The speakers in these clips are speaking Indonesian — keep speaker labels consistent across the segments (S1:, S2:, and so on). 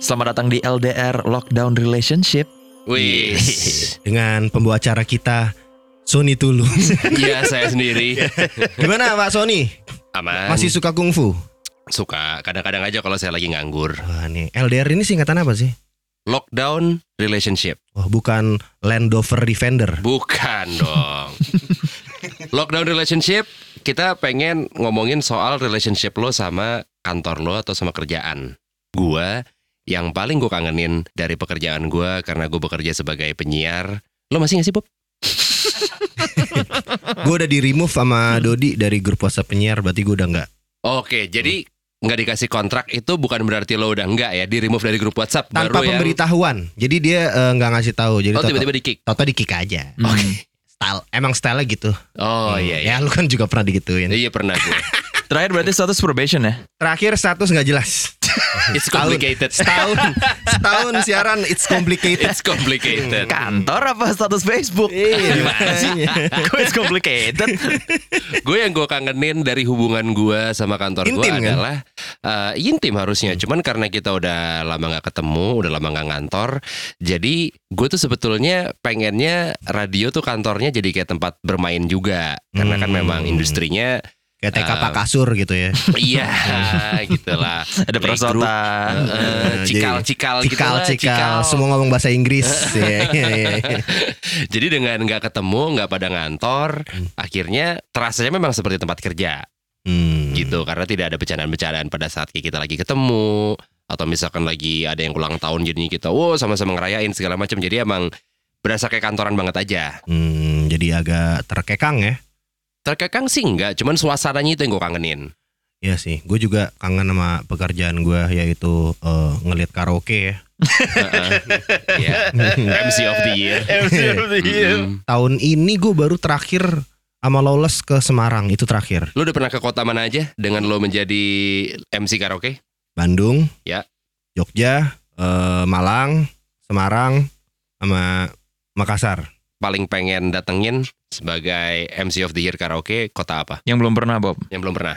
S1: Selamat datang di LDR Lockdown Relationship.
S2: Wih,
S3: dengan pembawa acara kita Sony Tulung.
S2: iya saya sendiri.
S3: Gimana Pak Sony?
S2: Aman.
S3: Masih suka kungfu?
S2: suka kadang-kadang aja kalau saya lagi nganggur.
S3: Wah nih, LDR ini singkatan apa sih?
S2: Lockdown relationship.
S3: Wah, bukan Land Rover Defender.
S2: Bukan dong. Lockdown relationship kita pengen ngomongin soal relationship lo sama kantor lo atau sama kerjaan. Gua yang paling gue kangenin dari pekerjaan gua karena gue bekerja sebagai penyiar. Lo masih gak sih Bob?
S3: Gue udah di remove sama Dodi dari grup WhatsApp penyiar, berarti gue udah nggak.
S2: Oke, jadi nggak dikasih kontrak itu bukan berarti lo udah nggak ya di remove dari grup WhatsApp
S3: Tanpa
S2: baru yang-
S3: pemberitahuan. Jadi dia eh, nggak ngasih tahu. Jadi
S2: Oh
S3: Toto-
S2: tiba-tiba di kick.
S3: Toto di kick aja.
S1: Hmm.
S3: Style, emang style gitu.
S2: Oh
S3: Hmm.
S2: iya iya.
S3: Ya lu kan juga pernah digituin.
S2: Iya pernah gue.
S1: Terakhir berarti status probation ya?
S3: Terakhir status nggak jelas.
S2: It's complicated.
S3: Setahun, setahun siaran it's complicated.
S2: It's complicated.
S1: Kan. Kantor apa status Facebook?
S3: Gimana sih?
S1: Kok it's complicated?
S2: gue yang gue kangenin dari hubungan gue sama kantor gue
S3: Intim, kan?
S2: adalah eh, intim harusnya. Cuman karena kita udah lama nggak ketemu, udah lama nggak ngantor, jadi gue tuh sebetulnya pengennya radio tuh kantornya jadi kayak tempat bermain juga. Karena kan
S3: Hmm.
S2: memang industrinya,
S3: Kayak TK
S2: Ah.
S3: Pak Kasur gitu ya.
S2: iya gitulah. eh,
S1: Ada perosotan.
S3: Jadi-
S2: Cikal-cikal gitu
S3: Cikal,
S2: lah,
S3: cikal, semua ngomong bahasa Inggris. Iya, iya, iya, iya.
S2: Jadi dengan nggak ketemu, nggak pada ngantor, akhirnya terasanya memang seperti tempat kerja.
S3: Hmm.
S2: gitu karena tidak ada bercandaan-bercandaan pada saat kita lagi ketemu atau misalkan lagi ada yang ulang tahun jadinya kita wow sama-sama ngerayain segala macam jadi emang berasa kayak kantoran banget aja
S3: Hmm, jadi agak terkekang ya.
S2: terkekang sih enggak cuman suasananya itu yang gue kangenin
S3: Iya sih, gue juga kangen sama pekerjaan gue yaitu eh, ngeliat karaoke ya.
S2: Heeh. Iya. MC of the year Mm-mm.
S3: Tahun ini gue baru terakhir sama Lawless ke Semarang itu terakhir.
S2: Lo udah pernah ke kota mana aja dengan lo menjadi MC karaoke?
S3: Bandung,
S2: Ya.
S3: Jogja, eh, Malang, Semarang, sama Makassar.
S2: Paling pengen datengin sebagai MC of the year karaoke kota apa?
S1: Yang belum pernah Bob.
S2: Yang belum pernah.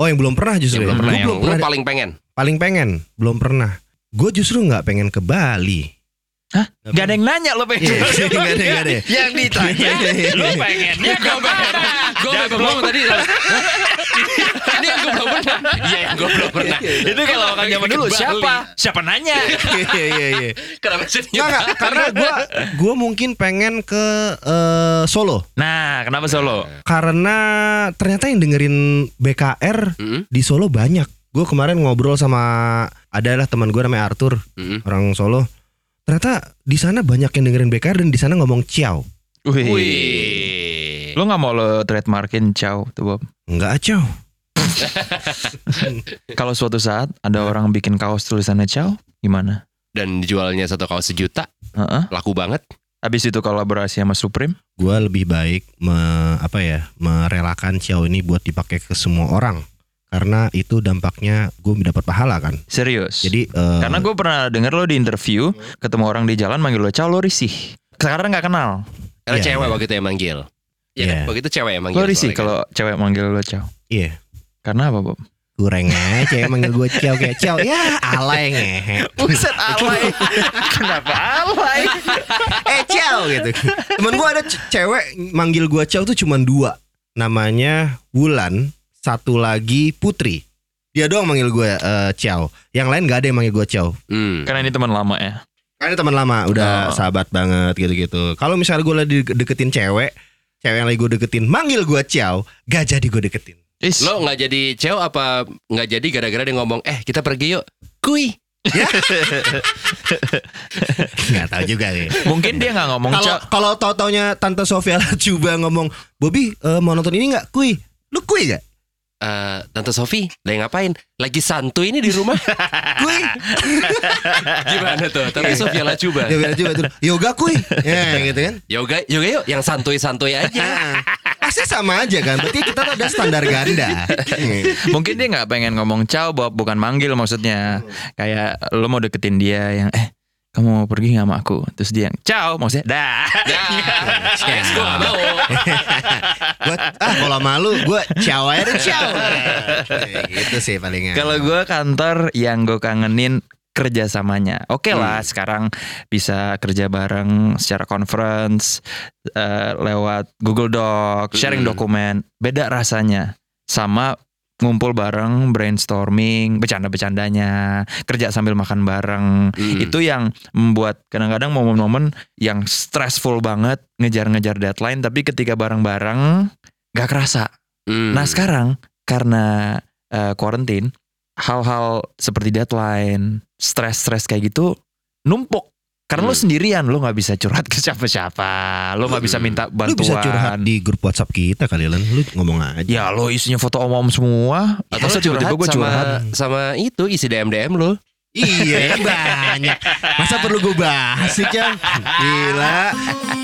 S3: Oh yang belum pernah
S2: Yang
S3: justru. ya?
S2: belum
S3: Gua
S2: pernah. Yang
S3: belum
S2: lo
S3: pernah.
S2: paling pengen.
S3: Paling pengen, belum pernah. Gue justru nggak pengen ke Bali.
S1: Hah?
S3: Nggak
S1: Gak ada yang nanya lo pengen.
S3: Iya, nggak ada, nggak ada.
S1: Yang ditanya lo pengennya kemana?
S2: Gue memang belum tadi Ini yang gue belum pernah Iya yang gue belum pernah
S1: Itu kalau akan zaman dulu
S2: Bali.
S1: siapa? Siapa nanya?
S3: Iya, iya, iya.
S2: Kenapa sih
S3: Nggak, nggak, karena gue gua mungkin pengen ke eh, Solo
S1: Nah, kenapa Solo?
S3: karena ternyata yang dengerin BKR
S2: Hmm?
S3: di Solo banyak. Gue kemarin ngobrol sama adalah teman gue namanya Arthur
S2: Hmm?
S3: orang Solo. Ternyata di sana banyak yang dengerin BKR dan di sana ngomong ciao.
S2: Wih
S1: Lo nggak mau lo trademarkin Chow tuh Bob?
S3: Enggak ciao.
S1: Kalau suatu saat ada orang bikin kaos tulisannya Chow, gimana?
S2: Dan dijualnya satu kaos sejuta
S1: Heeh.
S2: Laku banget
S1: Habis itu kolaborasi sama Supreme.
S3: Gue lebih baik me- apa ya merelakan ciao ini buat dipakai ke semua orang karena itu dampaknya gue dapat pahala kan.
S1: Serius.
S3: Jadi eh,
S1: Karena gue pernah denger lo di interview,
S2: Hmm.
S1: ketemu orang di jalan manggil lo Chow, lo risih. Sekarang nggak kenal.
S2: Karena
S3: Iya,
S2: cewek
S3: iya.
S2: waktu itu yang manggil Iya
S3: Iya.
S2: kan? Waktu itu cewek yang manggil
S1: Lo risih
S2: soalnya kan.
S1: kalau cewek manggil lo Chow.
S3: iya.
S1: Karena apa, Bob?
S3: Kurang aja yang manggil gue ciao kayak ciao ya alay ngehe
S1: Buset alay. Kenapa alay?
S3: eh ciao gitu temen gue ada ce- cewek manggil gue ciao tuh cuman dua namanya Wulan satu lagi Putri dia doang manggil gue eh, ciao yang lain gak ada yang manggil gue ciao
S2: Hmm.
S1: Karena ini teman lama ya.
S3: karena Kan teman lama udah
S1: Oh.
S3: sahabat banget gitu-gitu kalau misalnya gue lagi deketin cewek cewek yang lagi gue deketin manggil gue ciao gak jadi gue deketin
S1: Is.
S2: Lo gak jadi cewek apa Gak jadi gara-gara dia ngomong Eh kita pergi yuk Kui
S3: nggak tahu juga nih
S1: mungkin dia nggak ngomong
S3: Kalau
S1: Chow.
S3: kalau tau-taunya Tante Sofia Lajuba ngomong, Bobby eh, mau nonton ini nggak? Kui, lu kui gak?
S2: Eh, Tante Sofi Lagi ngapain Lagi santuy ini di rumah
S3: Kui,
S2: Gimana tuh Tante Sofi lah coba
S3: dia bilang juga tuh, yoga kui, ya gitu kan?
S2: Yoga, yoga yuk yang santuy-santuy
S1: Ya.
S2: aja.
S3: Asli sama aja kan? Berarti kita tuh ada standar ganda. Iya.
S1: Mungkin dia nggak pengen ngomong ciao Bob, bukan manggil maksudnya.
S2: Hmm.
S1: Kayak lo mau deketin dia yang eh kamu mau pergi nggak sama aku? Terus dia yang ciao maksudnya dah.
S2: Dah, Alex gue gak mau.
S3: gua, ah kalau malu, gue ciao
S2: Iya.
S3: aja deh, ciao. Kayak gitu sih palingan.
S1: Kalau gue kantor yang gue kangenin kerjasamanya. Oke lah,
S2: Hmm.
S1: sekarang bisa kerja bareng secara conference eh, lewat Google Doc, sharing
S2: Hmm.
S1: dokumen. Beda rasanya sama ngumpul bareng, brainstorming, bercanda-bercandanya, kerja sambil makan bareng.
S2: Hmm.
S1: Itu yang membuat kadang-kadang momen-momen yang stressful banget ngejar-ngejar deadline, tapi ketika bareng-bareng gak kerasa.
S2: Hmm.
S1: Nah sekarang karena eh, quarantine hal-hal seperti deadline, stres-stres kayak gitu numpuk. Karena lo
S2: Hmm.
S1: sendirian, lo nggak bisa curhat ke siapa-siapa, lo nggak bisa
S2: Hmm.
S1: minta bantuan.
S3: Lu bisa curhat di grup WhatsApp kita kali Len. Lu ngomong aja.
S1: Ya lo isinya foto om-om semua,
S2: atau
S1: terus
S2: lo curhat,
S1: tiba-tiba gue
S2: sama,
S1: curhat.
S2: sama itu isi DM DM lo.
S3: Iya banyak. Masa perlu gue bahas sih Cam? Gila.